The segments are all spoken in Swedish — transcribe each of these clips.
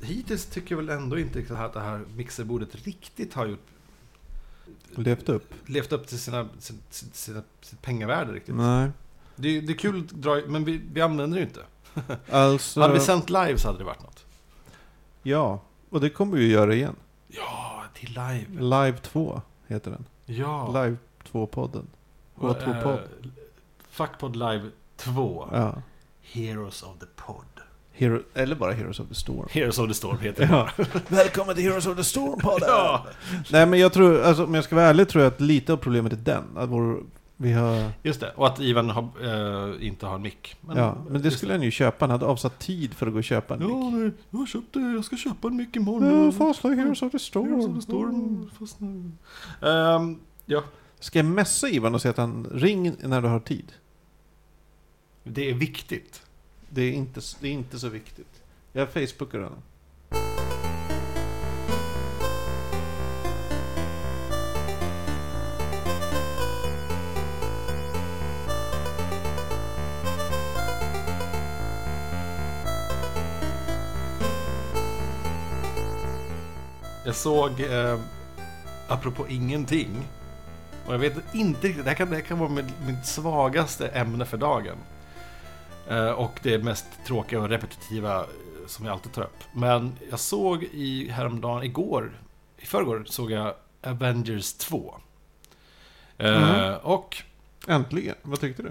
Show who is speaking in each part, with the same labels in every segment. Speaker 1: hittills tycker jag väl ändå inte riktigt att det här mixerbordet riktigt har gjort
Speaker 2: Levt upp?
Speaker 1: levt upp till sina, sina, sina, sitt pengavärde riktigt.
Speaker 2: Nej.
Speaker 1: Det, är- det är kul att dra i- men vi, vi använder det ju inte.
Speaker 2: Alltså,
Speaker 1: Hade vi sänt live så hade det varit något.
Speaker 2: ja. Och det kommer vi ju göra igen.
Speaker 1: Ja, till live.
Speaker 2: Live 2 heter den.
Speaker 1: Ja.
Speaker 2: Live 2-podden. H2-podd.
Speaker 1: Eh, Fuckpod live 2.
Speaker 2: Ja.
Speaker 1: Heroes of the Pod.
Speaker 2: Hero, eller bara Heroes of the Storm.
Speaker 1: Heroes of the Storm heter det.
Speaker 2: Ja. Välkommen till Heroes of the Storm-podden!
Speaker 1: ja.
Speaker 2: Nej men jag tror, alltså, om jag ska vara ärlig tror jag att lite av problemet är den. Att vår, vi har...
Speaker 1: Just det, och att Ivan har, eh, inte har en mick. Men,
Speaker 2: ja, men det skulle han ju köpa. Han hade avsatt tid för att gå och köpa en
Speaker 1: Ja,
Speaker 2: mick.
Speaker 1: nej, jag, har köpt, eh, jag ska köpa en mick imorgon.
Speaker 2: Ja, Fast like Heroes of the
Speaker 1: Heroes of
Speaker 2: Storm.
Speaker 1: the Storm. Fast, Mm. Ehm, ja,
Speaker 2: Ska jag messa Ivan och säga att han ring när du har tid?
Speaker 1: det är viktigt.
Speaker 2: Det är inte, det är inte så viktigt. Jag facebookar honom.
Speaker 1: Jag såg, eh, apropå ingenting, och jag vet inte riktigt, det här kan, det här kan vara mitt, mitt svagaste ämne för dagen. Eh, och det mest tråkiga och repetitiva eh, som jag alltid tar upp. Men jag såg i häromdagen, igår, i förrgår såg jag Avengers 2. Eh,
Speaker 2: Mhm.
Speaker 1: Och
Speaker 2: Äntligen, vad tyckte du?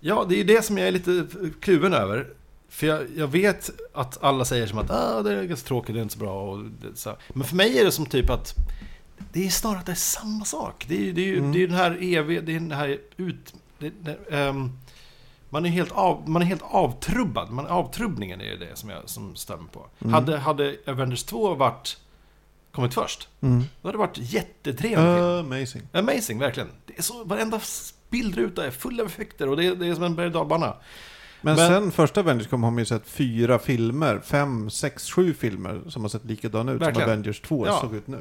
Speaker 1: Ja, det är ju det som jag är lite kluven över. För jag, jag vet att alla säger som att ah, det är ganska tråkigt, det är inte så bra. Och det, så. här. Men för mig är det som typ att det är snarare att det är samma sak. Det är ju det är, ju-
Speaker 2: Mm.
Speaker 1: det är ju den här eviga, det är den här ut... Det, det, ehm, man, är helt av, man är helt avtrubbad. Man, avtrubbningen är det som jag som stämmer på.
Speaker 2: Mm.
Speaker 1: Hade, hade Avengers 2 varit, kommit först, då hade det varit jättetrevligt.
Speaker 2: Mm. Ah. Amazing.
Speaker 1: Amazing, verkligen. Det är så, varenda s- bildruta är full av effekter och det är, det är som en berg och dalbana.
Speaker 2: Men,
Speaker 1: Men-
Speaker 2: sen första Avengers kom har man ju sett fyra filmer, fem, sex, sju filmer som har sett likadana ut
Speaker 1: Verkligen.
Speaker 2: som Avengers 2
Speaker 1: Ja.
Speaker 2: såg ut nu.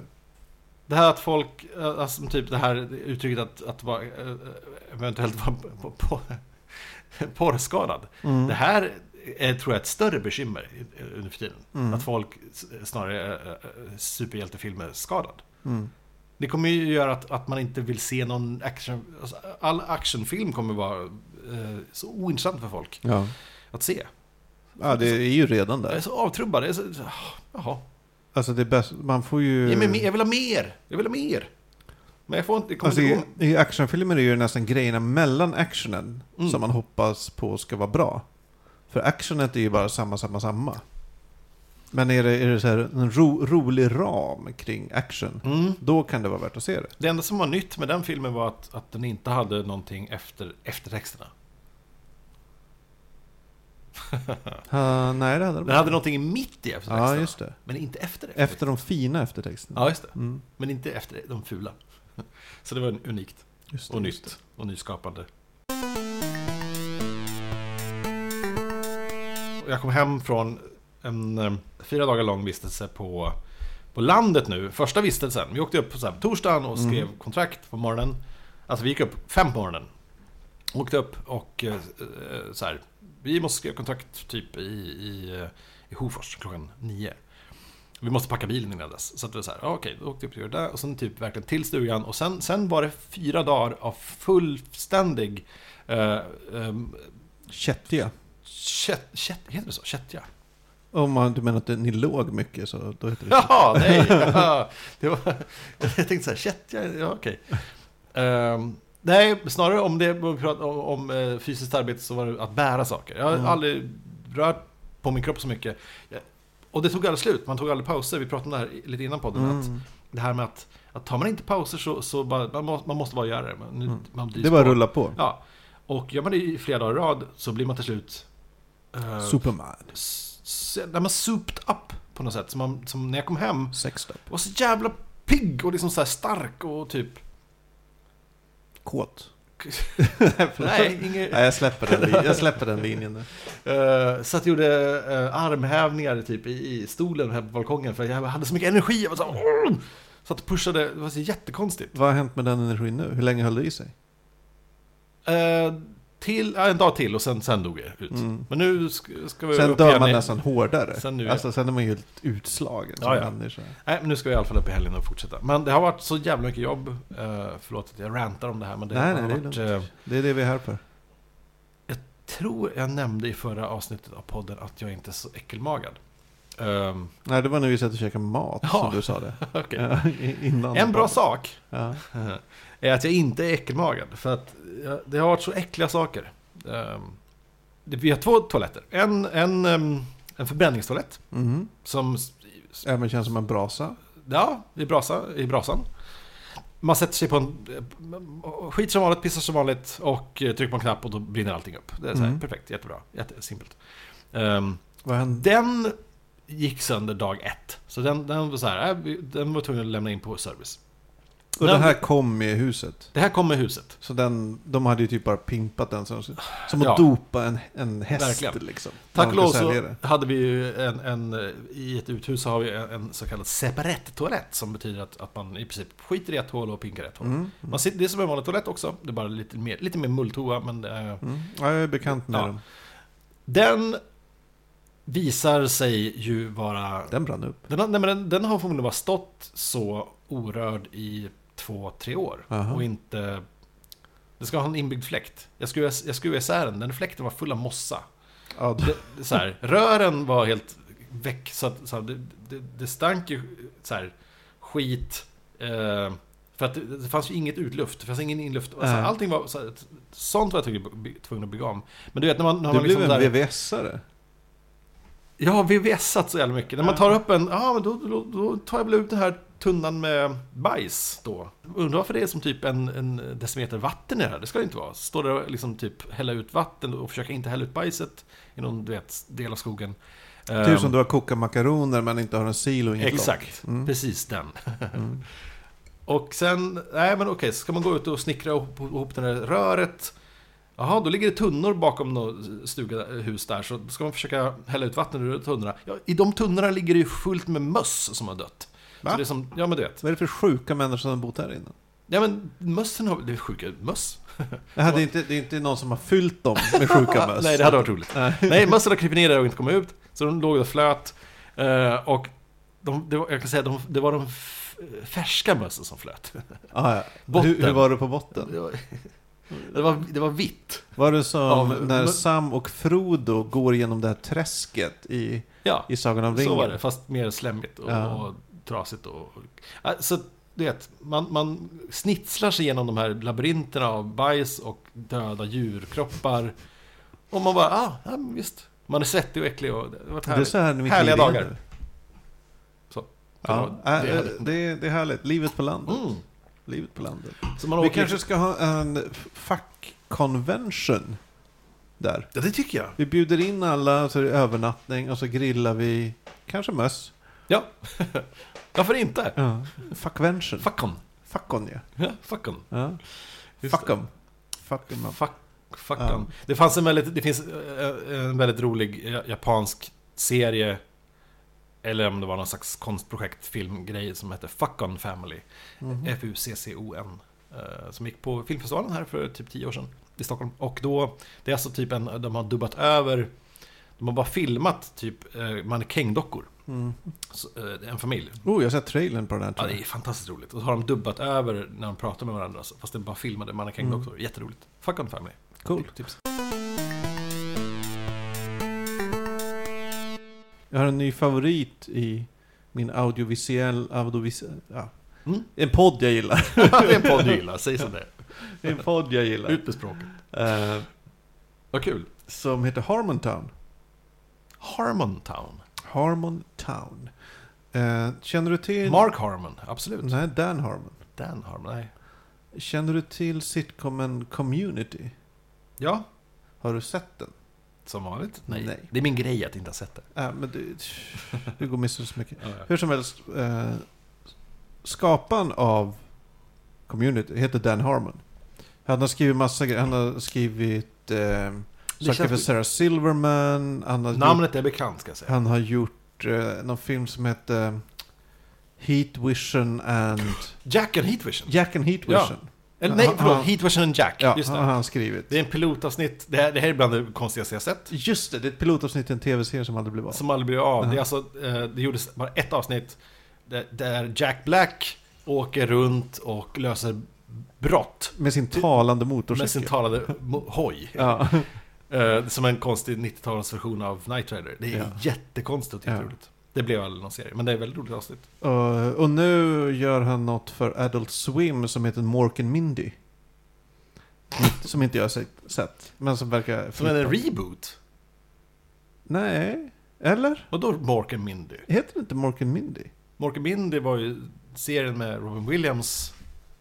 Speaker 1: Det här att folk, eh, alltså, typ det här uttrycket att, att vara, eh, eventuellt vara på, på, porrskadad.
Speaker 2: Mm.
Speaker 1: Det här är, tror jag är ett större bekymmer eh, nu för tiden.
Speaker 2: Mm.
Speaker 1: Att folk s- snarare är eh, superhjältefilmer skadad.
Speaker 2: Mm.
Speaker 1: Det kommer ju göra att, att man inte vill se någon action, alltså, all actionfilm kommer vara eh, så ointressant för folk
Speaker 2: Ja.
Speaker 1: att se.
Speaker 2: ja, det är ju redan
Speaker 1: Jag är
Speaker 2: där.
Speaker 1: så avtrubbad, jag är så, ah, jaha.
Speaker 2: Alltså det är bäst, man får ju...
Speaker 1: Ge mig mer, jag vill ha mer! Jag vill ha mer! Men jag får inte, det kommer
Speaker 2: Alltså,
Speaker 1: inte
Speaker 2: i,
Speaker 1: gå.
Speaker 2: I actionfilmer är ju nästan grejerna mellan actionen
Speaker 1: Mm.
Speaker 2: som man hoppas på ska vara bra. För actionet är ju bara samma, samma, samma. Men är det, är det så här en ro, rolig ram kring action,
Speaker 1: Mm.
Speaker 2: då kan det vara värt att se det.
Speaker 1: Det enda som var nytt med den filmen var att, att den inte hade någonting efter eftertexterna.
Speaker 2: Ah, nej, det hade de
Speaker 1: Den hade någonting mitt i
Speaker 2: Ja,
Speaker 1: eftertexterna.
Speaker 2: just det.
Speaker 1: Men inte efter det.
Speaker 2: Efter de fina eftertexterna.
Speaker 1: Ja, just det.
Speaker 2: Mm.
Speaker 1: Men inte efter de fula. Så det var unikt
Speaker 2: Just det,
Speaker 1: och
Speaker 2: just det.
Speaker 1: nytt och nyskapande. Och Jag kom hem från en eh, fyra dagar lång vistelse på, på landet nu. Första vistelsen. Vi åkte upp på så här, på torsdagen och skrev
Speaker 2: Mm.
Speaker 1: kontrakt på morgonen. Alltså vi gick upp fem på morgonen. Åkte upp och eh, eh, så här. Vi måste skriva kontrakt typ i, i, eh, i Hofors klockan nio. Vi måste packa bilen innan dess. Så att det var så här, ja, okej, då åkte vi på det där. Och sen typ verkligen till stugan. Och sen, sen var det fyra dagar av fullständig... Eh, ehm,
Speaker 2: Kättiga.
Speaker 1: kätt, kätt, heter det så? Kättja?
Speaker 2: Om man, du menar att ni låg mycket så då heter det kättiga.
Speaker 1: Jaha, nej! Ja, det var, jag tänkte så här, kättja, ja okej. Ehm, nej, snarare om det om, vi pratar om, om eh, fysiskt arbete så var det att bära saker. Jag har
Speaker 2: Mm.
Speaker 1: aldrig rört på min kropp så mycket. Jag- Och det tog aldrig slut, man tog aldrig pauser. Vi pratade om det här lite innan podden. Att
Speaker 2: Mm.
Speaker 1: Det här med att, att tar man inte pauser så, så bara, man, måste, man måste bara göra det. Man, nu,
Speaker 2: Mm.
Speaker 1: man drivs
Speaker 2: Det var
Speaker 1: på.
Speaker 2: rulla på.
Speaker 1: Ja. Och gör man det i flera dagar i rad så blir man till slut... eh,
Speaker 2: Superman.
Speaker 1: s- s- när man suped up på något sätt. Som, man, som när jag kom hem
Speaker 2: Sextop.
Speaker 1: var så jävla pigg och liksom så här stark och typ...
Speaker 2: Kåt.
Speaker 1: Nej, inget...
Speaker 2: Nej, jag släpper den, li- jag släpper den linjen nu.
Speaker 1: Eh, så att jag gjorde eh, armhävningar typ i, i stolen här på balkongen för jag hade så mycket energi. Jag var så, här, "Åh!" så att jag pushade, det var så jättekonstigt.
Speaker 2: Vad har hänt med den energin nu? Hur länge höll det i sig?
Speaker 1: Eh, till, ja, en dag till och sen, sen dog det ut.
Speaker 2: Mm.
Speaker 1: Men nu sk- ska vi
Speaker 2: Sen
Speaker 1: upp
Speaker 2: dör
Speaker 1: igen
Speaker 2: man
Speaker 1: i-
Speaker 2: nästan hårdare.
Speaker 1: Sen nu, ja.
Speaker 2: alltså, sen är man ju helt utslagen som
Speaker 1: Ja, ja.
Speaker 2: människa.
Speaker 1: Nej, men nu ska vi i alla fall upp i helgen och fortsätta. Men det har varit så jävla mycket jobb. Eh, förlåt att jag rantar om det här, men det
Speaker 2: Nej,
Speaker 1: har
Speaker 2: nej, det är
Speaker 1: varit...
Speaker 2: lugnt.
Speaker 1: eh,
Speaker 2: Det är det vi är här för.
Speaker 1: tror jag nämnde i förra avsnittet av podden att jag inte är så äckelmagad. Ehm,
Speaker 2: Nej, det var när vi satt och käkade mat
Speaker 1: Ja.
Speaker 2: som du sa det.
Speaker 1: okej.
Speaker 2: Ja, i- Innan.
Speaker 1: En bra sak
Speaker 2: Ja.
Speaker 1: är att jag inte är äckelmagad. För att jag- det har varit så äckliga saker. Ehm, det- Vi har två toaletter. En, en, ehm, en förbränningstoalett.
Speaker 2: Mhm.
Speaker 1: Som, s- s-
Speaker 2: Även känns som en brasa.
Speaker 1: ja, i, brasa, i brasan. Man sätter sig på en... eh, Skit som vanligt, pissar som vanligt och eh, trycker på en knapp och då brinner allting upp. Det är så här,
Speaker 2: Mm.
Speaker 1: perfekt, jättebra, jättesimpelt. Ehm,
Speaker 2: Vad hände?
Speaker 1: Den gick sönder dag ett. Så den, den var så här, äh, vi- den var tvungen att lämna in på service.
Speaker 2: Och det
Speaker 1: Den-
Speaker 2: här kom i huset.
Speaker 1: Det här kom med huset.
Speaker 2: Så den, de hade ju typ bara pimpat den som, som att
Speaker 1: Ja.
Speaker 2: dopa en, en häst
Speaker 1: Verkligen.
Speaker 2: liksom.
Speaker 1: Tack
Speaker 2: När
Speaker 1: och
Speaker 2: de
Speaker 1: lov
Speaker 2: ska sälja
Speaker 1: så
Speaker 2: det.
Speaker 1: hade vi ju en, en, eh, i ett uthus så har vi en, en så kallad separett toalett som betyder att, att man i princip skiter i ett hål och pinkar i ett hål.
Speaker 2: Mm.
Speaker 1: Man sitter, det är som en vanlig toalett också, det är bara lite mer, lite mer mulltoa men eh,
Speaker 2: Mm. Ja, jag är bekant med
Speaker 1: Ja.
Speaker 2: dem.
Speaker 1: den visar sig ju vara...
Speaker 2: Den brann upp.
Speaker 1: Den, har- nej, men den, den har förmodligen bara stått så orörd i två, tre år.
Speaker 2: Aha.
Speaker 1: Och inte... Det ska ha en inbyggd fläkt. Jag skruvade, jag skruvade isär den, den fläkten var full av mossa.
Speaker 2: Ja,
Speaker 1: Det, det, så här, rören var helt väck, så, att, så här, det, det, det stank ju så här, skit. Eh, för att det, det fanns ju inget utluft, det fanns ingen inluft. Alltså,
Speaker 2: Nej.
Speaker 1: allting var... Så här, sånt var jag tvungen- tvungen att bygga om. Men du vet när man... När
Speaker 2: du
Speaker 1: man liksom
Speaker 2: blev
Speaker 1: så här-
Speaker 2: en VVS-are.
Speaker 1: jag har VVSat så jävla mycket. När man tar upp en, ja men då, då, då tar jag väl ut den här tunnan med bajs då. Undrar varför det är som typ en, en decimeter vatten i det här. Det ska det inte vara. Står det och liksom typ hälla ut vatten och försöka inte hälla ut bajset i någon du vet, del av skogen.
Speaker 2: Typ som du har kokat makaroner men inte har en sil och inget
Speaker 1: Ehm. Exakt,
Speaker 2: Mm.
Speaker 1: precis den.
Speaker 2: lock. Mm.
Speaker 1: Och sen, nej men okej, så ska man gå ut och snickra ihop, ihop det där röret. Jaha, då ligger det tunnor bakom något stuga, hus där, så ska man försöka hälla ut vatten ur tunnorna. Ja, I de tunnorna ligger det ju fullt med möss som har dött.
Speaker 2: Va?
Speaker 1: Så det är som, ja men du vet.
Speaker 2: Vad är det för sjuka människor som har bott här inne?
Speaker 1: Ja men mössen har, det är sjuka möss.
Speaker 2: Det, här, det, är inte, det är inte någon som har fyllt dem med sjuka möss.
Speaker 1: Nej, det hade varit roligt.
Speaker 2: Nej.
Speaker 1: Nej, mössen har krypit ner där och inte kommit ut. Så de låg och flöt. Eh, Och de, det var, jag kan säga, de, det var de f- färska mössen som flöt.
Speaker 2: Ah, ja.
Speaker 1: Botten.
Speaker 2: Hur, hur var du på botten?
Speaker 1: Det var, det var, det var vitt.
Speaker 2: Var det som
Speaker 1: Av-
Speaker 2: när
Speaker 1: men-
Speaker 2: Sam och Frodo går genom det här träsket i,
Speaker 1: Ja.
Speaker 2: i Sagan om ringen?
Speaker 1: Så var det, fast mer slemmigt och,
Speaker 2: Ja.
Speaker 1: och trasigt. Och, och, Ja, så du vet, man, man snitslar sig igenom de här labyrinterna av bajs och döda djurkroppar. Och man bara, ah, ja, men visst. Man är svettig och äcklig och det har varit
Speaker 2: Det är
Speaker 1: härligt.
Speaker 2: så här mitt
Speaker 1: Härliga
Speaker 2: liv är
Speaker 1: dagar.
Speaker 2: nu.
Speaker 1: Så.
Speaker 2: Ja,
Speaker 1: Det var-
Speaker 2: äh,
Speaker 1: det-
Speaker 2: äh, det, är, det är härligt. Livet på landet.
Speaker 1: Mm.
Speaker 2: Livet på landet.
Speaker 1: Så man
Speaker 2: Vi
Speaker 1: åker...
Speaker 2: kanske ska ha en fackconvention där.
Speaker 1: Ja, det tycker jag.
Speaker 2: Vi bjuder in alla, så är det övernattning och så grillar vi kanske möss.
Speaker 1: Ja. Varför inte?
Speaker 2: Ja. Fuckvention.
Speaker 1: Fuck on.
Speaker 2: Fuckon ja.
Speaker 1: Ja, fuck on.
Speaker 2: ja.
Speaker 1: Just det.
Speaker 2: Fuckum. Fuckum up.
Speaker 1: Fuck, fuck
Speaker 2: Ja.
Speaker 1: on. Det, fanns en väldigt, det finns eh, en väldigt rolig eh, japansk serie Eller om det var någon slags konstprojekt, filmgrej som hette Fuck on Family
Speaker 2: Mhm.
Speaker 1: Eh. F-U-C-C-O-N eh, Som gick på filmfestivalen här för typ tio år sedan I Stockholm Och då, det är alltså typ en, de har dubbat över De har bara filmat typ eh, mannekängdockor
Speaker 2: Mm.
Speaker 1: Så, eh, En familj
Speaker 2: Oh, jag har sett trailern på den här
Speaker 1: Ja,
Speaker 2: tror
Speaker 1: det är
Speaker 2: jag.
Speaker 1: fantastiskt roligt. Och så har de dubbat över när de pratar med varandra. så- Fast det är bara filmade mannekängdockor. Jätteroligt. Fuck on family.
Speaker 2: Cool.
Speaker 1: Tips.
Speaker 2: Jag har en ny favorit i min audiovisuell... audiovisuell ja.
Speaker 1: Mm.
Speaker 2: En podd jag gillar.
Speaker 1: det är en podd du gillar, säg som det är.
Speaker 2: en podd jag gillar.
Speaker 1: Ut med språket.
Speaker 2: Eh,
Speaker 1: Vad kul.
Speaker 2: som heter Harmontown.
Speaker 1: Harmontown.
Speaker 2: Harmon Town. Eh, känner du till...
Speaker 1: Mark Harmon, absolut.
Speaker 2: Nej, Dan Harmon.
Speaker 1: Dan Harmon, Mm. nej.
Speaker 2: Känner du till sitcomen Community?
Speaker 1: Ja,
Speaker 2: Har du sett den?
Speaker 1: som vanligt. Nej.
Speaker 2: Nej.
Speaker 1: Det är min grej att inte ha sett det.
Speaker 2: Äh, men du, du går miste om så mycket.
Speaker 1: Ja, ja.
Speaker 2: Hur som helst, eh, skaparen av Community heter Dan Harmon. Han har skrivit massa grejer. Han har skrivit eh, saker
Speaker 1: känns-
Speaker 2: för Sarah Silverman. Han har gjort
Speaker 1: Alltså, Namnet är bekant ska jag säga.
Speaker 2: Han har gjort eh, någon film som heter Heat Vision and
Speaker 1: Jack and Heat Vision.
Speaker 2: Jack and Heat Vision.
Speaker 1: Eller nej,
Speaker 2: Han-
Speaker 1: förlåt.
Speaker 2: han-
Speaker 1: Heat version Jack.
Speaker 2: Ja,
Speaker 1: Just
Speaker 2: har
Speaker 1: det.
Speaker 2: han skrivit.
Speaker 1: Det är en pilotavsnitt. Det här, det här är bland det konstigaste jag sett.
Speaker 2: Just det, det är ett pilotavsnitt i en tv-serie som aldrig blev av.
Speaker 1: Som aldrig blev av.
Speaker 2: Aha.
Speaker 1: Det, är alltså, eh, det gjordes bara ett avsnitt där, där Jack Black åker runt och löser brott.
Speaker 2: Med sin talande
Speaker 1: Med sin
Speaker 2: motorcykel.
Speaker 1: talade mo- hoj.
Speaker 2: Ja.
Speaker 1: Eh, som en konstig 90-talsversion av Knight Rider. Det är
Speaker 2: Ja.
Speaker 1: jättekonstigt och
Speaker 2: Ja.
Speaker 1: jätteroligt. Det blev aldrig någon serie, men det är ett väldigt roligt avsnitt.
Speaker 2: Och, Eh, och nu gör han något för Adult Swim som heter Mork and Mindy. Som inte jag har sett- sett. Men som verkar...
Speaker 1: Som en
Speaker 2: flippa.
Speaker 1: reboot.
Speaker 2: Nej. Eller?
Speaker 1: Vadå Mork and Mindy?
Speaker 2: Heter det inte Mork and Mindy?
Speaker 1: Mork and Mindy var ju serien med Robin Williams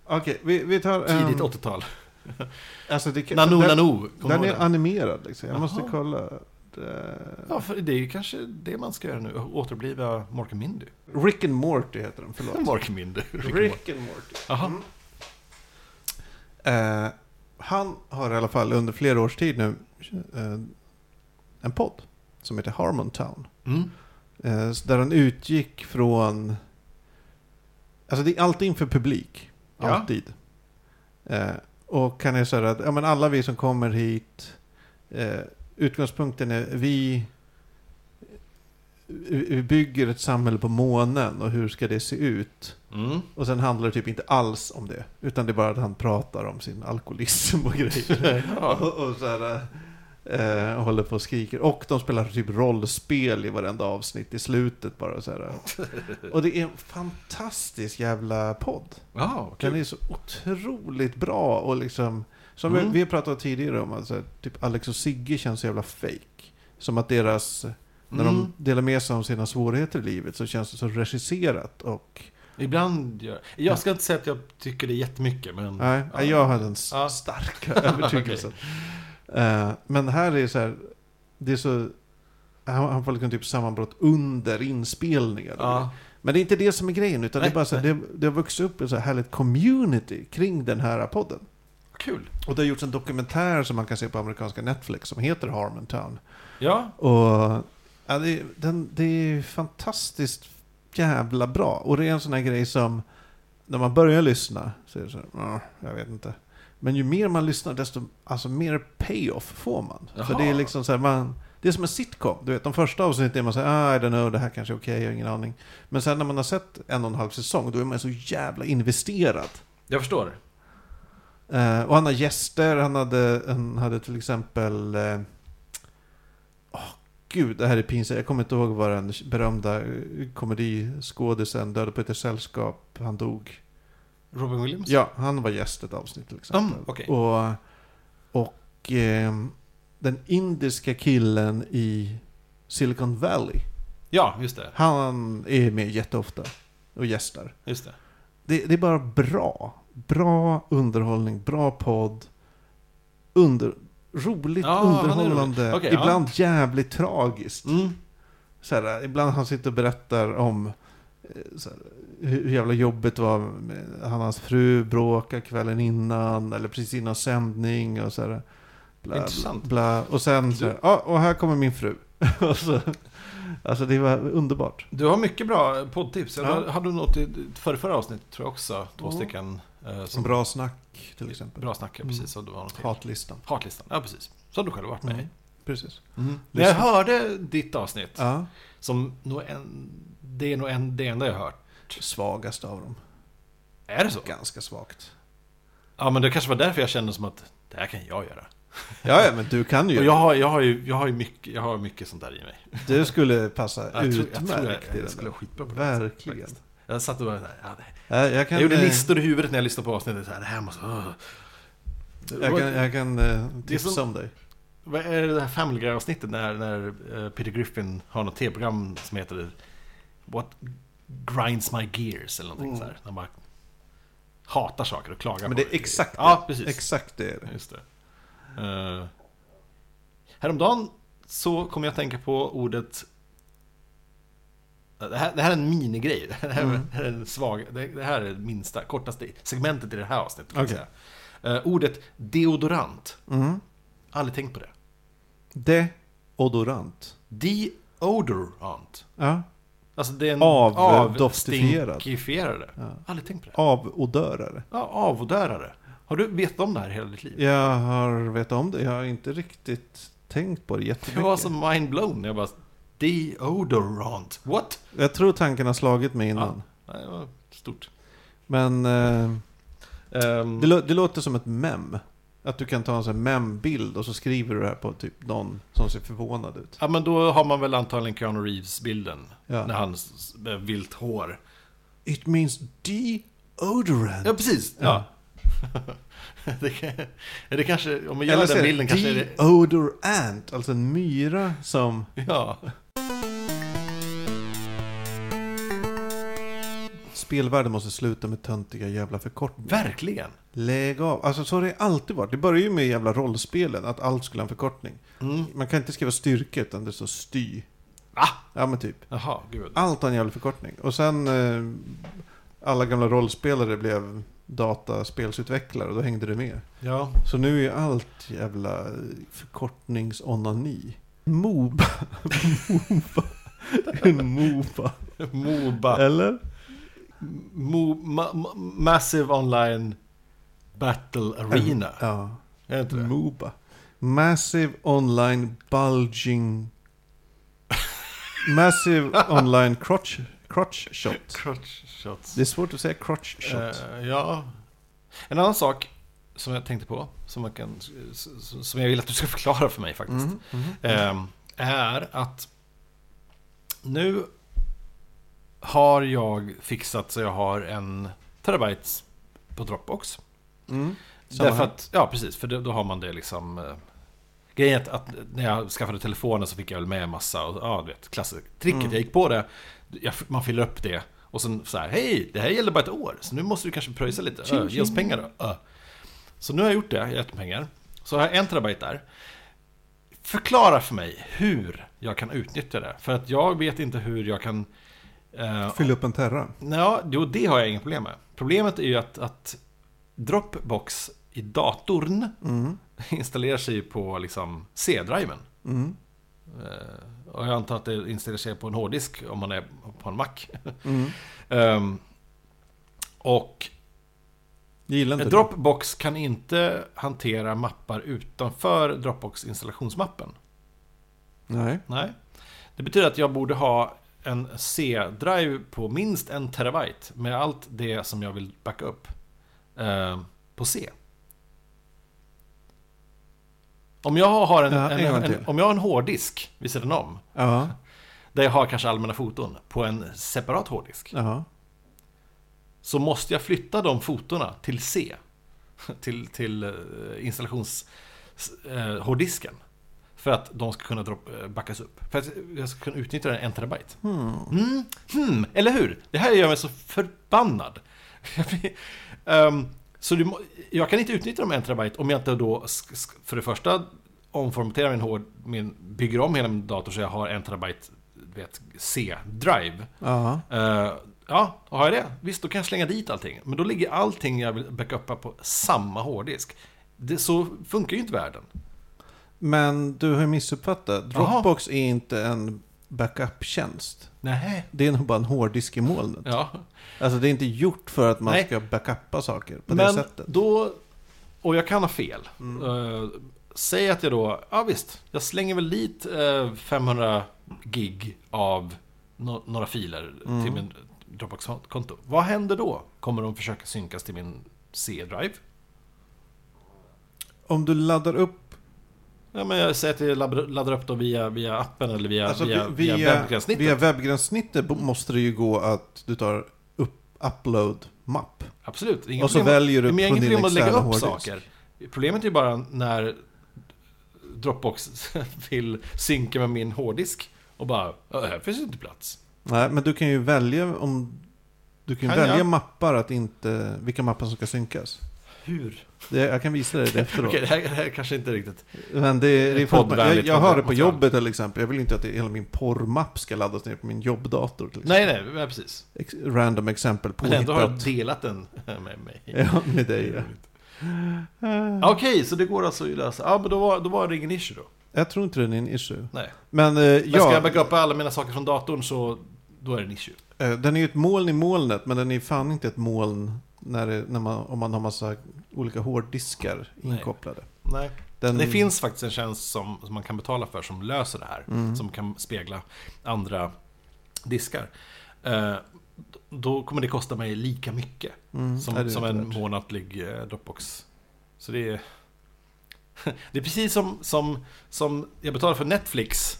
Speaker 2: Okej, vi, vi tar... ehm,
Speaker 1: tidigt 80-tal.
Speaker 2: Alltså det kan,
Speaker 1: Nano
Speaker 2: den,
Speaker 1: Nano, kommer
Speaker 2: den
Speaker 1: du
Speaker 2: är
Speaker 1: ihåg den?
Speaker 2: animerad liksom. Jag måste
Speaker 1: Jaha.
Speaker 2: kolla. Eh, Det-
Speaker 1: Ja, för det är ju kanske det man ska göra nu, återbliva Mork and Mindy.
Speaker 2: Rick and Morty heter den, förlåt.
Speaker 1: Mork and Mindy. Rick and Morty.
Speaker 2: Rick and Morty.
Speaker 1: Jaha.
Speaker 2: Mm. Eh, han har i alla fall under flera års tid nu eh, en podd som heter Harmontown.
Speaker 1: Mm.
Speaker 2: Eh, så där han utgick från... Alltså det är alltid inför publik.
Speaker 1: Ja.
Speaker 2: Alltid. Eh, och kan jag säga att ja, men alla vi som kommer hit, eh, utgångspunkten är vi, eh, vi bygger ett samhälle på månen och hur ska det se ut?
Speaker 1: Mm.
Speaker 2: Och sen handlar det typ inte alls om det. Utan det är bara att han pratar om sin alkoholism och grejer.
Speaker 1: Ja.
Speaker 2: och, och så här, eh, håller på och skriker. Och de spelar typ rollspel i varenda avsnitt i slutet bara så här. Och det är en fantastisk jävla podd.
Speaker 1: Ja,
Speaker 2: Den
Speaker 1: kul.
Speaker 2: är så otroligt bra och liksom... Som
Speaker 1: Mm.
Speaker 2: vi, vi har pratat tidigare om, alltså, typ Alex och Sigge känns så jävla fake. Som att deras... När
Speaker 1: Mm.
Speaker 2: de delar med sig av sina svårigheter i livet så känns det så regisserat och...
Speaker 1: Ibland gör... Jag ska inte säga att jag tycker det jättemycket, men...
Speaker 2: Nej,
Speaker 1: Ja.
Speaker 2: jag hade den s-
Speaker 1: Ja.
Speaker 2: starka övertygelsen. Eh, men här är så här, det är så, han, han får liksom typ sammanbrott under inspelningar.
Speaker 1: Ja.
Speaker 2: Men det är inte det som är grejen, utan
Speaker 1: Nej,
Speaker 2: det är bara så här, det, det har vuxit upp en så här härligt community kring den här podden.
Speaker 1: Kul.
Speaker 2: Och det har gjorts en dokumentär som man kan se på amerikanska Netflix som heter Harmontown.
Speaker 1: Ja.
Speaker 2: Och ja, det, den, det är fantastiskt jävla bra. Och det är en sån här grej som när man börjar lyssna så är det så här, "Ah, jag vet inte. Men ju mer man lyssnar desto alltså, mer payoff får man.
Speaker 1: Jaha.
Speaker 2: För det är liksom så här, man, det är som en sitcom. Du vet, de första avsnitten är man så här, ah, I don't know, det här kanske är okej, jag har ingen aning. Men sen när man har sett en och en halv säsong, då är man så jävla investerad.
Speaker 1: Jag förstår.
Speaker 2: Eh, och han har gäster, han hade, han hade till exempel... eh, åh, gud, det här är pinsamt. Jag kommer inte ihåg vad den berömda eh, komediskådisen Döda på ett sällskap, han dog.
Speaker 1: Robin Williams?
Speaker 2: Ja, han var gäst i ett avsnitt till exempel.
Speaker 1: Mm, okej.
Speaker 2: Och, och ehm, den indiska killen i Silicon Valley,
Speaker 1: Ja, just det.
Speaker 2: han är med jätteofta och gästar.
Speaker 1: Just det.
Speaker 2: Det, det är bara bra. Bra underhållning, bra podd. Under, roligt,
Speaker 1: Ja, han är rolig.
Speaker 2: underhållande.
Speaker 1: Okej, ja.
Speaker 2: ibland jävligt tragiskt.
Speaker 1: Mm.
Speaker 2: Så här, ibland han sitter och berättar om eh, så här, hur hur jävla jobbigt var. med- Han och hans fru bråkade kvällen innan eller precis innan sändning. Och så här, bla,
Speaker 1: Intressant.
Speaker 2: Bla, bla. Och sen så här, ah, och här kommer min fru. och så, alltså det var underbart.
Speaker 1: Du har mycket bra poddtips. Jag
Speaker 2: Ja.
Speaker 1: hade du något i förra, förra avsnitt, tror jag också. Två
Speaker 2: Mm.
Speaker 1: stycken. Eh,
Speaker 2: Som bra snack till exempel.
Speaker 1: Bra snackare,
Speaker 2: Mm.
Speaker 1: precis. Och det var något till.
Speaker 2: Hatlistan.
Speaker 1: Hatlistan. Ja, precis. Som du själv har varit med i.
Speaker 2: Mm. Precis.
Speaker 1: När jag
Speaker 2: Lyssna.
Speaker 1: hörde ditt avsnitt,
Speaker 2: Ja.
Speaker 1: som nog en, det är nog en, det enda jag har hört.
Speaker 2: Svagaste av dem.
Speaker 1: Är det så?
Speaker 2: Ganska svagt.
Speaker 1: Ja, men det kanske var därför jag kände som att det här kan jag göra.
Speaker 2: Ja, ja men du kan
Speaker 1: Och
Speaker 2: ju.
Speaker 1: jag har, jag har ju jag har ju mycket, jag har mycket sånt där i mig.
Speaker 2: Du skulle passa
Speaker 1: Jag tror, jag, tror
Speaker 2: utmärkt
Speaker 1: jag,
Speaker 2: i
Speaker 1: jag
Speaker 2: den
Speaker 1: skulle
Speaker 2: där.
Speaker 1: vara skitbra på det.
Speaker 2: Verkligen.
Speaker 1: Faktiskt. Jag satt och bara, nej, ja, nej.
Speaker 2: Ja, jag, kan,
Speaker 1: jag gjorde
Speaker 2: eh,
Speaker 1: listor i huvudet när jag lyssnade på avsnittet. Så här, det här måste... Uh.
Speaker 2: Jag kan, jag kan eh, tipsa
Speaker 1: som-
Speaker 2: om dig.
Speaker 1: Vad är det här Family Guy-avsnittet när, när eh, Peter Griffin har något tv-program som heter What Grinds My Gears eller någonting
Speaker 2: Mm.
Speaker 1: så här. När man hatar saker och klagar
Speaker 2: Men
Speaker 1: på
Speaker 2: det är exakt
Speaker 1: Ja,
Speaker 2: det.
Speaker 1: precis.
Speaker 2: Exakt det är det.
Speaker 1: Just det. Eh, häromdagen så kom jag att tänka på ordet... eh, Det här, det här är en minigrej. Det här,
Speaker 2: Mm.
Speaker 1: det här är en svag, det, det här är det minsta, kortaste segmentet i det här avsnittet. Kan jag
Speaker 2: Okej.
Speaker 1: säga. Eh, ordet deodorant.
Speaker 2: Mm.
Speaker 1: Aldrig tänkt på det.
Speaker 2: Deodorant.
Speaker 1: Deodorant.
Speaker 2: Ja.
Speaker 1: Alltså det är en
Speaker 2: Av- doftifierad.
Speaker 1: avstinkifierad.
Speaker 2: Ja.
Speaker 1: Aldrig tänkt på det.
Speaker 2: Avodörare.
Speaker 1: Ja, avodörare. Har du vetat om det här hela ditt liv?
Speaker 2: Jag har vetat om det. Jag har inte riktigt tänkt på det
Speaker 1: Det
Speaker 2: jättemycket.
Speaker 1: var som mind-blown. Jag bara... Deodorant. What?
Speaker 2: Jag tror tanken har slagit mig innan.
Speaker 1: Nej, det var stort.
Speaker 2: Men eh,
Speaker 1: Ehm,
Speaker 2: det, lå- det låter som ett mem. Att du kan ta en sån här mem-bild och så skriver du det här på typ någon som ser förvånad ut.
Speaker 1: ja, men då har man väl antagligen Keanu Reeves-bilden. När
Speaker 2: Ja.
Speaker 1: han s- med vilt hår.
Speaker 2: It means deodorant.
Speaker 1: Ja, precis. Ja. det, kan- det kanske... Om man gillar
Speaker 2: så
Speaker 1: den
Speaker 2: är det
Speaker 1: bilden kanske är det...
Speaker 2: deodorant, alltså en myra som...
Speaker 1: Ja.
Speaker 2: Spelvärlden måste sluta med töntiga jävla förkortningar.
Speaker 1: Verkligen.
Speaker 2: Lägg av. Alltså så har det alltid varit. Det började ju med jävla rollspelen, att allt skulle ha en förkortning.
Speaker 1: Mm.
Speaker 2: Man kan inte skriva styrka utan det står sty.
Speaker 1: Va?
Speaker 2: Ja men typ.
Speaker 1: Jaha, gud.
Speaker 2: Allt har en jävla förkortning. Och sen eh, alla gamla rollspelare blev dataspelsutvecklare och då hängde det med.
Speaker 1: Ja.
Speaker 2: Så nu är ju allt jävla förkortningsonani. Moba. Moba. En Moba.
Speaker 1: Moba.
Speaker 2: Eller?
Speaker 1: Mo, ma, ma, massive Online Battle Arena.
Speaker 2: Ja.
Speaker 1: Är det inte det?
Speaker 2: Moba. Massive online bulging... Massive online crotch, crotch shot.
Speaker 1: Crotch shots.
Speaker 2: Det är svårt att säga crotch shot.
Speaker 1: Eh, ja. En annan sak som jag tänkte på, som, man kan, s- som jag vill att du ska förklara för mig faktiskt.
Speaker 2: Mhm, mhm.
Speaker 1: Ehm, är att nu har jag fixat så jag har en terabyte på Dropbox.
Speaker 2: Mm. Samma
Speaker 1: Därför
Speaker 2: här.
Speaker 1: att, ja precis, för då, då har man det liksom... Eh, grejen är att, att när jag skaffade telefonen så fick jag väl med massa, och, ja du vet, klassisk tricket.
Speaker 2: Mm.
Speaker 1: Jag gick på det, jag, man fyller upp det och sen så här, hej, det här gäller bara ett år, så nu måste du kanske pröjsa lite,
Speaker 2: Tjing,
Speaker 1: Ö, ge oss pengar då. Ö. Så nu har jag gjort det, jag har gett pengar. Så har jag en terabyte där. Förklara för mig hur jag kan utnyttja det, för att jag vet inte hur jag kan... eh,
Speaker 2: Fyll upp en terra.
Speaker 1: Ja, jo, det har jag inga problem med. Problemet är ju att, att Dropbox i datorn
Speaker 2: Mm.
Speaker 1: installerar sig ju på liksom C-driven.
Speaker 2: Mm.
Speaker 1: Eh, och jag antar att det installerar sig på en hårddisk om man är på en Mac.
Speaker 2: Mm.
Speaker 1: Ehm, och
Speaker 2: Jag gillar inte det.
Speaker 1: Dropbox kan inte hantera mappar utanför Dropbox installationsmappen.
Speaker 2: Nej.
Speaker 1: Nej. Det betyder att jag borde ha en C-drive på minst en terabyte med allt det som jag vill backa upp eh, på C. Om jag har en,
Speaker 2: Ja,
Speaker 1: en,
Speaker 2: en gång
Speaker 1: en,
Speaker 2: till.
Speaker 1: om jag har en hårddisk vid sidan om,
Speaker 2: Ja.
Speaker 1: där jag har kanske allmänna foton på en separat hårddisk,
Speaker 2: ja.
Speaker 1: så måste jag flytta de fotona till C, till, till eh, installations eh, hårddisken, för att de ska kunna drop, eh, backas upp. För att jag ska kunna utnyttja den en terabyte.
Speaker 2: Hmm.
Speaker 1: Mm, hmm, eller hur? Det här gör mig så förbannad. Jag blir- Ehm, så du, må- jag kan inte utnyttja de en terabyte om jag inte då sk- sk- för det första omformaterar min hård, min, bygger om hela min dator så jag har en terabyte du vet, C-drive.
Speaker 2: Ja.
Speaker 1: Eh, ja, då har jag det. Visst, då kan jag slänga dit allting. Men då ligger allting jag vill backuppa på samma hårddisk. Det, så funkar ju inte världen.
Speaker 2: Men du har ju missuppfattat. Dropbox är inte en backup-tjänst.
Speaker 1: Nej.
Speaker 2: Det är nog bara en hårddisk i molnet.
Speaker 1: Ja.
Speaker 2: Alltså det är inte gjort för att man
Speaker 1: Nej.
Speaker 2: ska backuppa saker på det
Speaker 1: Men
Speaker 2: sättet.
Speaker 1: då... Och jag kan ha fel.
Speaker 2: Mm.
Speaker 1: Eh, säg att jag då... Ja, visst. Jag slänger väl dit eh, 500 gig av no- några filer
Speaker 2: Mm.
Speaker 1: till min Dropbox-konto. Vad händer då? Kommer de försöka synkas till min C-drive?
Speaker 2: Om du laddar upp,
Speaker 1: Ja, men jag säger att jag laddar- laddar upp dem via, via appen eller via,
Speaker 2: alltså
Speaker 1: via,
Speaker 2: via,
Speaker 1: via, webbgränssnittet.
Speaker 2: via webbgränssnittet bo- måste det ju gå att du tar upp upload mapp.
Speaker 1: Absolut. det är inget
Speaker 2: Och så
Speaker 1: problem.
Speaker 2: väljer du
Speaker 1: Men jag har
Speaker 2: på
Speaker 1: inget
Speaker 2: din
Speaker 1: problem att lägga
Speaker 2: externa
Speaker 1: upp
Speaker 2: hårddisk.
Speaker 1: saker. Problemet är ju bara när Dropbox vill synka med min hårddisk och bara, "Ja, här finns inte plats.
Speaker 2: Nej, men du kan ju välja om... Du kan ju
Speaker 1: Kan jag?
Speaker 2: välja mappar att inte... Vilka mappar som ska synkas.
Speaker 1: Hur?
Speaker 2: Det, jag kan visa dig det efteråt.
Speaker 1: Okej, det, här, det här kanske inte är riktigt...
Speaker 2: Men det, det är folk, jag,
Speaker 1: Poddvänligt
Speaker 2: jag har det på
Speaker 1: material.
Speaker 2: jobbet till exempel. Jag vill inte att det, hela min porrmapp ska laddas ner på min jobbdator. Till exempel.
Speaker 1: Nej, nej, men precis.
Speaker 2: Ex- Random exempel
Speaker 1: Men ändå har jag
Speaker 2: påhittat.
Speaker 1: delat den med mig.
Speaker 2: Ja, med dig. Ja. Eh,
Speaker 1: Ja, Okej, så det går alltså att lösa. Ja, men då var, då var det ingen issue då.
Speaker 2: Jag tror inte det är en issue.
Speaker 1: Nej.
Speaker 2: Men, eh,
Speaker 1: Men ska jag
Speaker 2: ja,
Speaker 1: backa upp alla mina saker från datorn så då är det en issue.
Speaker 2: eh, den är ju ett moln i molnet, men den är fan inte ett moln när, det, när man, om man har massa olika hårddiskar
Speaker 1: Nej.
Speaker 2: inkopplade.
Speaker 1: Nej.
Speaker 2: Den-
Speaker 1: Det finns faktiskt en tjänst som, som man kan betala för som löser det här.
Speaker 2: Mm.
Speaker 1: Som kan spegla andra diskar. Eh, då kommer det kosta mig lika mycket
Speaker 2: Mm, nej,
Speaker 1: som,
Speaker 2: det är
Speaker 1: som
Speaker 2: inte
Speaker 1: en
Speaker 2: värt.
Speaker 1: månatlig eh, Dropbox. Så det är... Det är precis som, som, som jag betalar för Netflix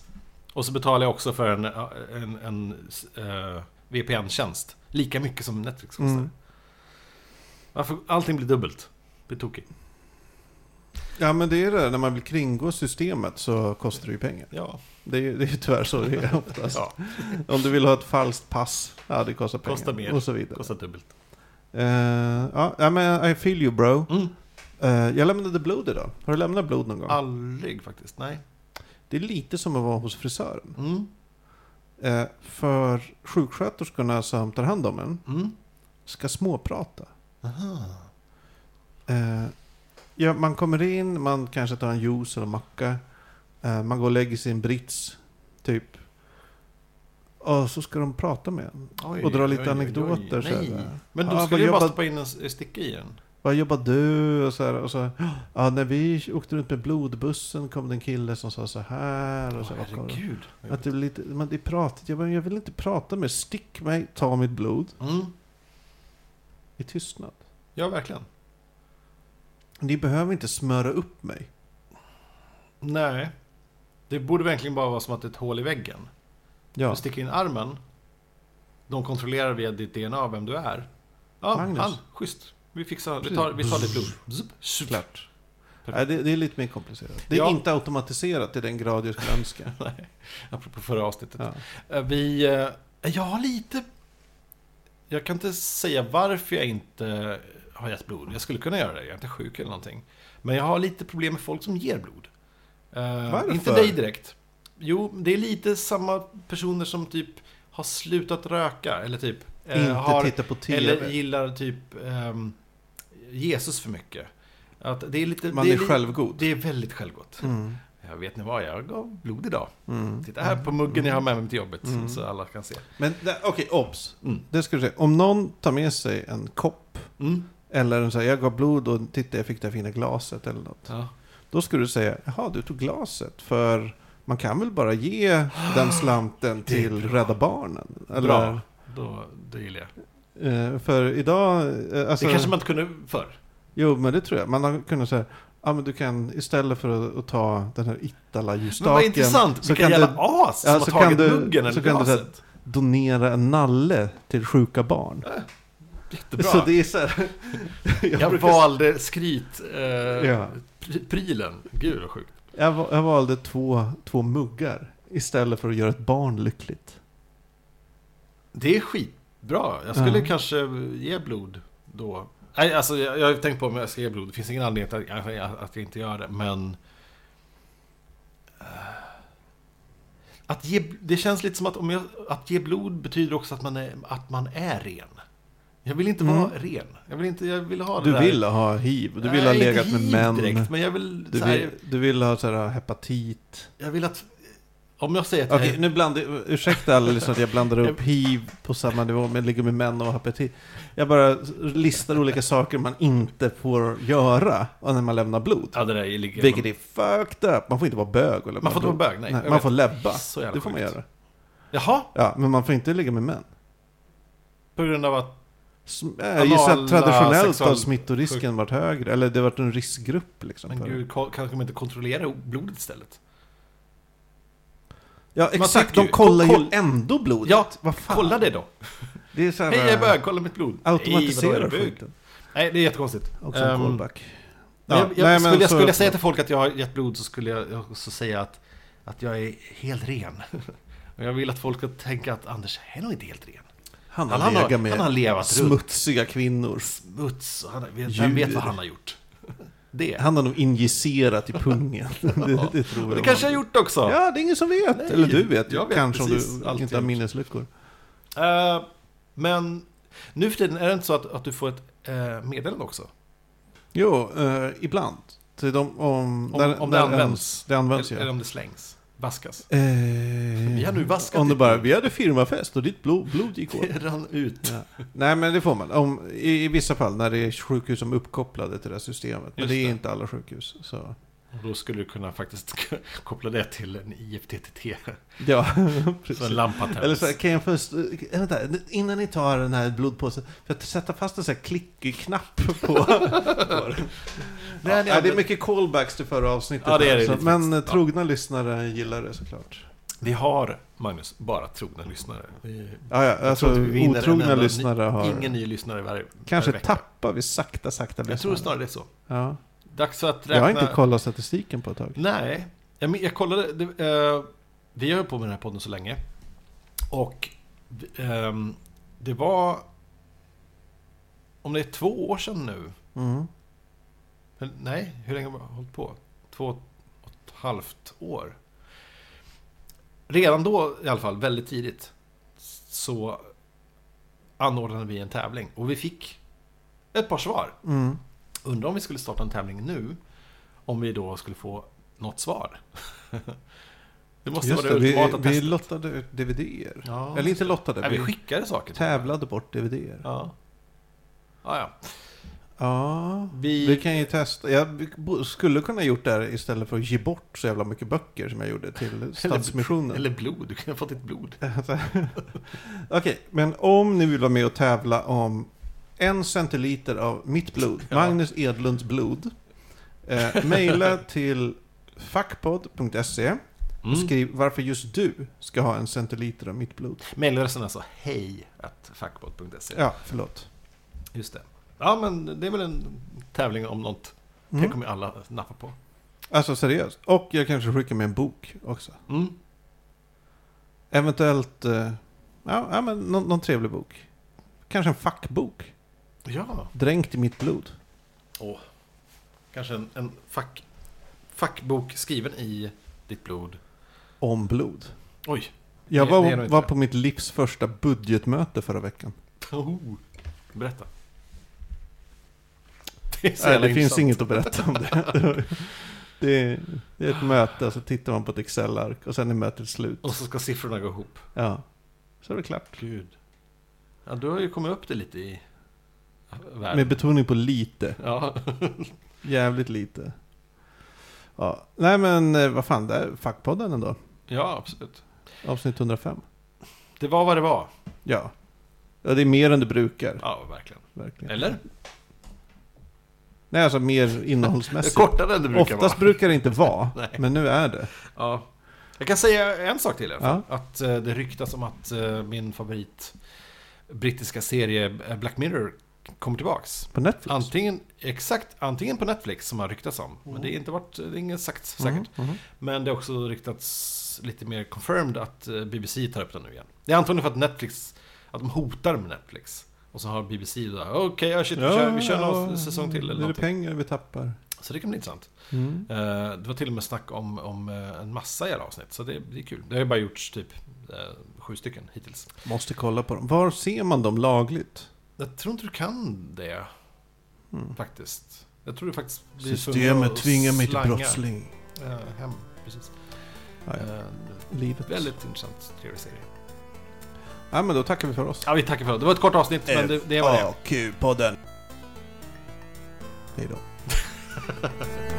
Speaker 1: och så betalar jag också för en, eh, en, en, eh, VPN-tjänst. Lika mycket som Netflix kostar.
Speaker 2: Mm.
Speaker 1: Varför, allting blir dubbelt. Det är tokigt.
Speaker 2: Ja men det är det, när man vill kringgå systemet så kostar det ju pengar.
Speaker 1: Ja,
Speaker 2: Det är, ju- det är ju tyvärr så det är oftast.
Speaker 1: ja
Speaker 2: Om du vill ha ett falskt pass, ja det kostar pengar.
Speaker 1: Kostar mer.
Speaker 2: Och så vidare.
Speaker 1: kostar dubbelt.
Speaker 2: Eh, ja, ja, men I feel you bro.
Speaker 1: Mm.
Speaker 2: Eh, jag lämnade blod idag. Har du lämnat blod någon gång?
Speaker 1: Aldrig faktiskt, nej.
Speaker 2: Det är lite som att vara hos frisören.
Speaker 1: Mm.
Speaker 2: Eh, för sjuksköterskorna som tar hand om en
Speaker 1: Mm.
Speaker 2: ska småprata.
Speaker 1: Aha.
Speaker 2: Eh, ja, man kommer in, man kanske tar en juice eller macka. Eh, man går och lägger sin brits, typ. Och så ska de prata med en.
Speaker 1: Oj,
Speaker 2: Och dra lite
Speaker 1: oj, oj, oj.
Speaker 2: anekdoter. Så
Speaker 1: Nej.
Speaker 2: här.
Speaker 1: Men då
Speaker 2: Ja,
Speaker 1: skulle jag
Speaker 2: vad
Speaker 1: bara
Speaker 2: jobbat-
Speaker 1: stoppa in en s- sticka i den.
Speaker 2: Vad jobbar du? Och så här, och så, ja, när vi åkte runt med blodbussen kom det en kille som sa så här. Och
Speaker 1: Åh,
Speaker 2: så, här, vad kom det?
Speaker 1: herregud.
Speaker 2: Att det blir lite, men det är pratet, jag, bara, jag vill inte prata med stick mig, ta mitt blod
Speaker 1: Mm.
Speaker 2: i tystnad.
Speaker 1: Ja, verkligen.
Speaker 2: Ni behöver inte smöra upp mig.
Speaker 1: Nej. Det borde verkligen bara vara som att det är ett hål i väggen.
Speaker 2: Ja,
Speaker 1: Du sticker in armen. De kontrollerar via ditt DNA vem du är. Ja,
Speaker 2: Magnus.
Speaker 1: han. Schysst. Vi fixar, vi tar, vi tar ditt blod. Zup, zup.
Speaker 2: klart. Nej, det, det är lite mer komplicerat. Det är
Speaker 1: Ja.
Speaker 2: inte automatiserat i den grad jag skulle önska.
Speaker 1: Nej, apropå förra avsnittet.
Speaker 2: Ja.
Speaker 1: Eh, Vi... eh, Jag har lite... Jag kan inte säga varför jag inte har gett blod. Jag skulle kunna göra det, jag är inte sjuk eller någonting. Men jag har lite problem med folk som ger blod. Eh,
Speaker 2: Varför?
Speaker 1: Inte dig direkt. Jo, det är lite samma personer som typ har slutat röka eller typ... eh,
Speaker 2: inte
Speaker 1: har,
Speaker 2: titta på TV.
Speaker 1: Eller gillar typ ehm, Jesus för mycket. Att det är lite...
Speaker 2: Man
Speaker 1: det
Speaker 2: är,
Speaker 1: li-
Speaker 2: självgod.
Speaker 1: Det är väldigt självgott.
Speaker 2: Mm.
Speaker 1: Jag vet ni vad, jag gav blod idag.
Speaker 2: Mm.
Speaker 1: Titta här på muggen jag har med mig till jobbet
Speaker 2: Mm.
Speaker 1: så alla kan se.
Speaker 2: Men det- okej, obs.
Speaker 1: Mm.
Speaker 2: Det ska du säga. Om någon tar med sig en kopp
Speaker 1: Mm.
Speaker 2: eller en så här, jag gav blod och titta jag fick det här fina glaset eller något.
Speaker 1: Ja.
Speaker 2: Då ska du säga, jaha du tog glaset för man kan väl bara ge den slanten
Speaker 1: Det är
Speaker 2: till
Speaker 1: bra.
Speaker 2: Rädda Barnen? Eller,
Speaker 1: Bra, då, det gillar jag.
Speaker 2: Eh, För idag, eh, alltså,
Speaker 1: Det kanske man inte kunde förr.
Speaker 2: jo men det tror jag, man har kunnat säga, ja men du kan istället för att, att ta den här
Speaker 1: Men vad
Speaker 2: Ittala-ljusstaken
Speaker 1: intressant,
Speaker 2: så
Speaker 1: vilka
Speaker 2: kan
Speaker 1: jävla
Speaker 2: du
Speaker 1: as som
Speaker 2: ja,
Speaker 1: har
Speaker 2: så
Speaker 1: tagit
Speaker 2: kan du-
Speaker 1: muggen eller
Speaker 2: så kan du-
Speaker 1: glaset.
Speaker 2: donera en nalle till sjuka barn.
Speaker 1: Jättebra.
Speaker 2: Så det är så här, jag,
Speaker 1: jag
Speaker 2: brukar-
Speaker 1: valde skryt, eh,
Speaker 2: Ja.
Speaker 1: pr- prylen. Gud vad sjukt.
Speaker 2: jag, va- jag valde två, två muggar istället för att göra ett barn lyckligt.
Speaker 1: Det är skitbra. Jag skulle
Speaker 2: Ja.
Speaker 1: kanske ge blod då. Nej, alltså jag, jag har ju tänkt på om jag ska ge blod. Det finns ingen anledning att, att, jag- att jag inte gör det, men... eh, Att ge, det känns lite som att, om jag, att ge blod betyder också att man är, att man är ren. Jag vill inte
Speaker 2: Mm.
Speaker 1: vara ren. Jag vill, inte, jag vill ha det
Speaker 2: Du
Speaker 1: där.
Speaker 2: vill ha hiv, du vill ha
Speaker 1: Nej, inte
Speaker 2: legat med
Speaker 1: hiv
Speaker 2: män.
Speaker 1: Direkt, men jag vill,
Speaker 2: Du
Speaker 1: så här,
Speaker 2: vill, du vill ha så här, hepatit.
Speaker 1: jag vill att... Om jag säger att
Speaker 2: Okej,
Speaker 1: jag är
Speaker 2: nu blandar ursäkta alla lyssnare att jag blandar upp hiv på samma nivå med ligger med män och hepatit. Jag bara listar olika saker man inte får göra när man lämnar blod.
Speaker 1: Ja, det där ligger...
Speaker 2: Vilket är fucked up. Man får inte vara bög och lämna
Speaker 1: man får inte
Speaker 2: blod.
Speaker 1: vara bög, nej.
Speaker 2: Nej,
Speaker 1: jag
Speaker 2: man
Speaker 1: vet.
Speaker 2: får läbba.
Speaker 1: Så jävla
Speaker 2: Det får man
Speaker 1: sjukt.
Speaker 2: göra.
Speaker 1: Jaha,
Speaker 2: Ja, men man får inte ligga med män.
Speaker 1: på grund av att...
Speaker 2: Som- Jag gissar
Speaker 1: Anala
Speaker 2: att traditionellt har
Speaker 1: sexuell-
Speaker 2: smittorisken varit högre. Eller det har varit en riskgrupp liksom.
Speaker 1: Men
Speaker 2: för-
Speaker 1: gud, ko- kanske man inte kontrollerar blodet istället?
Speaker 2: ja, exakt.
Speaker 1: söker
Speaker 2: De
Speaker 1: ju.
Speaker 2: kollar ju
Speaker 1: Koll-
Speaker 2: ändå blodet.
Speaker 1: Ja,
Speaker 2: vad fan.
Speaker 1: Kolla det då!
Speaker 2: Det är så här, eh,
Speaker 1: Hej, jag är bög, kolla mitt blod! Nej, vadå,
Speaker 2: Automatiserar
Speaker 1: är du bög?
Speaker 2: skiten.
Speaker 1: Nej, det är jättekonstigt.
Speaker 2: Också en
Speaker 1: Ehm,
Speaker 2: callback.
Speaker 1: men
Speaker 2: Ja,
Speaker 1: jag, jag,
Speaker 2: nej, men
Speaker 1: skulle, jag
Speaker 2: så-
Speaker 1: skulle jag säga till folk att jag har gett blod så skulle jag också säga att, att jag är helt ren. Och jag vill att folk ska tänka att Anders är nog inte helt ren.
Speaker 2: Han
Speaker 1: Han, han,
Speaker 2: har
Speaker 1: har,
Speaker 2: legat med
Speaker 1: han har levat runt.
Speaker 2: smutsiga kvinnor.
Speaker 1: Smuts. och Han, har- vet,
Speaker 2: Djur.
Speaker 1: vem vet vad han har gjort? Det.
Speaker 2: Han har nog injicerat i pungen. det, det tror
Speaker 1: och
Speaker 2: jag.
Speaker 1: det kanske jag har gjort också.
Speaker 2: Ja, det är ingen som vet.
Speaker 1: Nej,
Speaker 2: Eller du vet.
Speaker 1: jag vet
Speaker 2: kanske om
Speaker 1: precis
Speaker 2: du
Speaker 1: allt
Speaker 2: inte
Speaker 1: jag
Speaker 2: har
Speaker 1: gjort.
Speaker 2: minnesluckor.
Speaker 1: Eh, men nu för tiden är det inte så att, att du får ett eh, meddelande också?
Speaker 2: Jo, eh, ibland. Till de, om,
Speaker 1: Om,
Speaker 2: där-
Speaker 1: om
Speaker 2: där
Speaker 1: det används?
Speaker 2: En, det används
Speaker 1: eller, eller
Speaker 2: ja.
Speaker 1: om det slängs? vaskas.
Speaker 2: Eh,
Speaker 1: Vi har nu vaskat
Speaker 2: Om det
Speaker 1: ditt
Speaker 2: bara,
Speaker 1: blod.
Speaker 2: vi hade firmafest och ditt blod, blod gick åt.
Speaker 1: Det rann ut.
Speaker 2: Ja. Nej men det får man. Om, i, I vissa fall när det är sjukhus som är uppkopplade till det här systemet. Men
Speaker 1: Just
Speaker 2: det är
Speaker 1: det.
Speaker 2: inte alla sjukhus. Så.
Speaker 1: Och då skulle du kunna faktiskt koppla det till en IFTTT.
Speaker 2: Ja,
Speaker 1: Så
Speaker 2: precis.
Speaker 1: en lampa tänds.
Speaker 2: Eller så här, kan jag först, eh, vänta, innan ni tar den här blodpåsen, för att sätta fast en sån här klick-knapp på, på den.
Speaker 1: Nej,
Speaker 2: ja,
Speaker 1: nej,
Speaker 2: nej, det är
Speaker 1: men-
Speaker 2: mycket callbacks till förra avsnittet.
Speaker 1: Ja, det är det
Speaker 2: alltså.
Speaker 1: lite
Speaker 2: men
Speaker 1: faktiskt.
Speaker 2: trogna lyssnare gillar det såklart.
Speaker 1: Vi har, Magnus, bara trogna lyssnare. Vi,
Speaker 2: Ja, ja,
Speaker 1: jag
Speaker 2: alltså,
Speaker 1: tror inte vi vinner en
Speaker 2: otrogna
Speaker 1: enda ny-
Speaker 2: lyssnare har...
Speaker 1: Ingen ny lyssnare varje
Speaker 2: Kanske
Speaker 1: varje vecka.
Speaker 2: tappar vi sakta, sakta
Speaker 1: Jag tror snarare det är så.
Speaker 2: Ja.
Speaker 1: Dags att räkna...
Speaker 2: Jag har inte kollat statistiken på ett tag.
Speaker 1: Nej, jag, men- jag kollade. Det, eh, vi har ju på med den här podden så länge. Och ehm, det var... Om det är två år sedan nu.
Speaker 2: Mm.
Speaker 1: eller Nej, hur länge har vi hållit på? Två och ett halvt år. Redan då i alla fall, väldigt tidigt, så anordnade vi en tävling. Och vi fick ett par svar.
Speaker 2: Mm.
Speaker 1: Undrar om vi skulle starta en tävling nu, om vi då skulle få något svar. det måste
Speaker 2: Just
Speaker 1: vara
Speaker 2: det,
Speaker 1: det,
Speaker 2: vi,
Speaker 1: ultimata
Speaker 2: vi
Speaker 1: testet.
Speaker 2: lottade ut DVDer.
Speaker 1: Ja.
Speaker 2: Eller inte lottade,
Speaker 1: Nej, vi
Speaker 2: vi,
Speaker 1: skickade saker. till-
Speaker 2: tävlade bort DVDer. Ja.
Speaker 1: Ja. Ja, ja.
Speaker 2: Vi...
Speaker 1: Vi-
Speaker 2: kan ju testa. Jag bo- skulle kunna gjort det här istället för att ge bort så jävla mycket böcker som jag gjorde till Stadsmissionen.
Speaker 1: Eller blod, du kunde ha fått ditt blod.
Speaker 2: Alltså, Okej, men om ni vill vara med och tävla om en centiliter av mitt blod,
Speaker 1: Ja.
Speaker 2: Magnus Edlunds blod, eh, mejla till fackpodd.se och
Speaker 1: Mm.
Speaker 2: E. skriv varför just du ska ha en centiliter av mitt blod.
Speaker 1: Mejladressen alltså hej att fackbot.se.
Speaker 2: Ja, förlåt.
Speaker 1: Just det. Ja, men det är väl en tävling om något. Det
Speaker 2: Mm.
Speaker 1: kommer ju alla nappa på.
Speaker 2: Alltså seriöst. Och jag kanske skickar med en bok också.
Speaker 1: Mm.
Speaker 2: Eventuellt, eh, ja, ja men någon, någon trevlig bok. Kanske en fackbok.
Speaker 1: Ja,
Speaker 2: Dränkt i mitt blod.
Speaker 1: kanske en, en fack, fackbok skriven i ditt blod.
Speaker 2: Om blod.
Speaker 1: Oj.
Speaker 2: Jag
Speaker 1: Det- det är nog
Speaker 2: var,
Speaker 1: inte
Speaker 2: var
Speaker 1: det.
Speaker 2: på mitt livs första budgetmöte förra veckan.
Speaker 1: Oh. Berätta. Det, är så
Speaker 2: Nej,
Speaker 1: jävla
Speaker 2: det
Speaker 1: intressant.
Speaker 2: finns inget att berätta om det. det, är, det är ett möte och så tittar man på ett Excel-ark och sen är mötet slut.
Speaker 1: Och så ska siffrorna gå ihop.
Speaker 2: Ja. Så är det klart.
Speaker 1: Gud. Ja, du har ju kommit upp det lite i världen.
Speaker 2: Med betoning på lite.
Speaker 1: Ja.
Speaker 2: Jävligt lite. Ja. Nej men eh, vad fan, det är fackpodden ändå.
Speaker 1: ja, absolut.
Speaker 2: Avsnitt 105.
Speaker 1: Det var vad det var.
Speaker 2: Ja. Ja, det är mer än det brukar.
Speaker 1: Ja, verkligen.
Speaker 2: Verkligen.
Speaker 1: Eller?
Speaker 2: Nej, alltså mer innehållsmässigt.
Speaker 1: Kortare än det brukar
Speaker 2: Oftast
Speaker 1: vara.
Speaker 2: brukar det inte vara,
Speaker 1: Nej.
Speaker 2: men nu är det.
Speaker 1: Ja. Jag kan säga en sak till i alla fall. Att eh, det ryktas om att eh, min favorit brittiska serie eh, Black Mirror kommer tillbaks.
Speaker 2: På Netflix.
Speaker 1: Antingen, exakt, antingen på Netflix som har ryktats om. Men det är inte varit, det är inget sagt säkert.
Speaker 2: Mhm, mhm.
Speaker 1: Men det är också ryktats lite mer confirmed att eh, BBC tar upp den nu igen. Det är antagligen för att Netflix, att de hotar med Netflix. Och så har BBC då, okej, ja, shit, vi kör, vi kör någon säsong till eller
Speaker 2: Det är det
Speaker 1: någonting.
Speaker 2: pengar vi tappar. Mm.
Speaker 1: Så det kan bli intressant. Eh, Det var till och med snack om, om eh, en massa jävla avsnitt, så det, det är kul. Det har ju bara gjorts typ eh, sju stycken hittills.
Speaker 2: Måste kolla på dem. Var ser man dem lagligt? Mm.
Speaker 1: Jag tror inte du kan det, faktiskt. Jag tror du faktiskt blir tvungen
Speaker 2: Systemet
Speaker 1: att
Speaker 2: tvingar mig till
Speaker 1: slanga,
Speaker 2: brottsling.
Speaker 1: eh, Hem, precis.
Speaker 2: Ja, ja.
Speaker 1: Eh,
Speaker 2: Livet.
Speaker 1: Väldigt intressant, trevlig serie.
Speaker 2: Ja, men då tackar vi för oss.
Speaker 1: Ja, vi tackar för det. Det var ett kort avsnitt, men
Speaker 2: Eh,
Speaker 1: det, det var det.
Speaker 2: FAQ-podden. Hej då.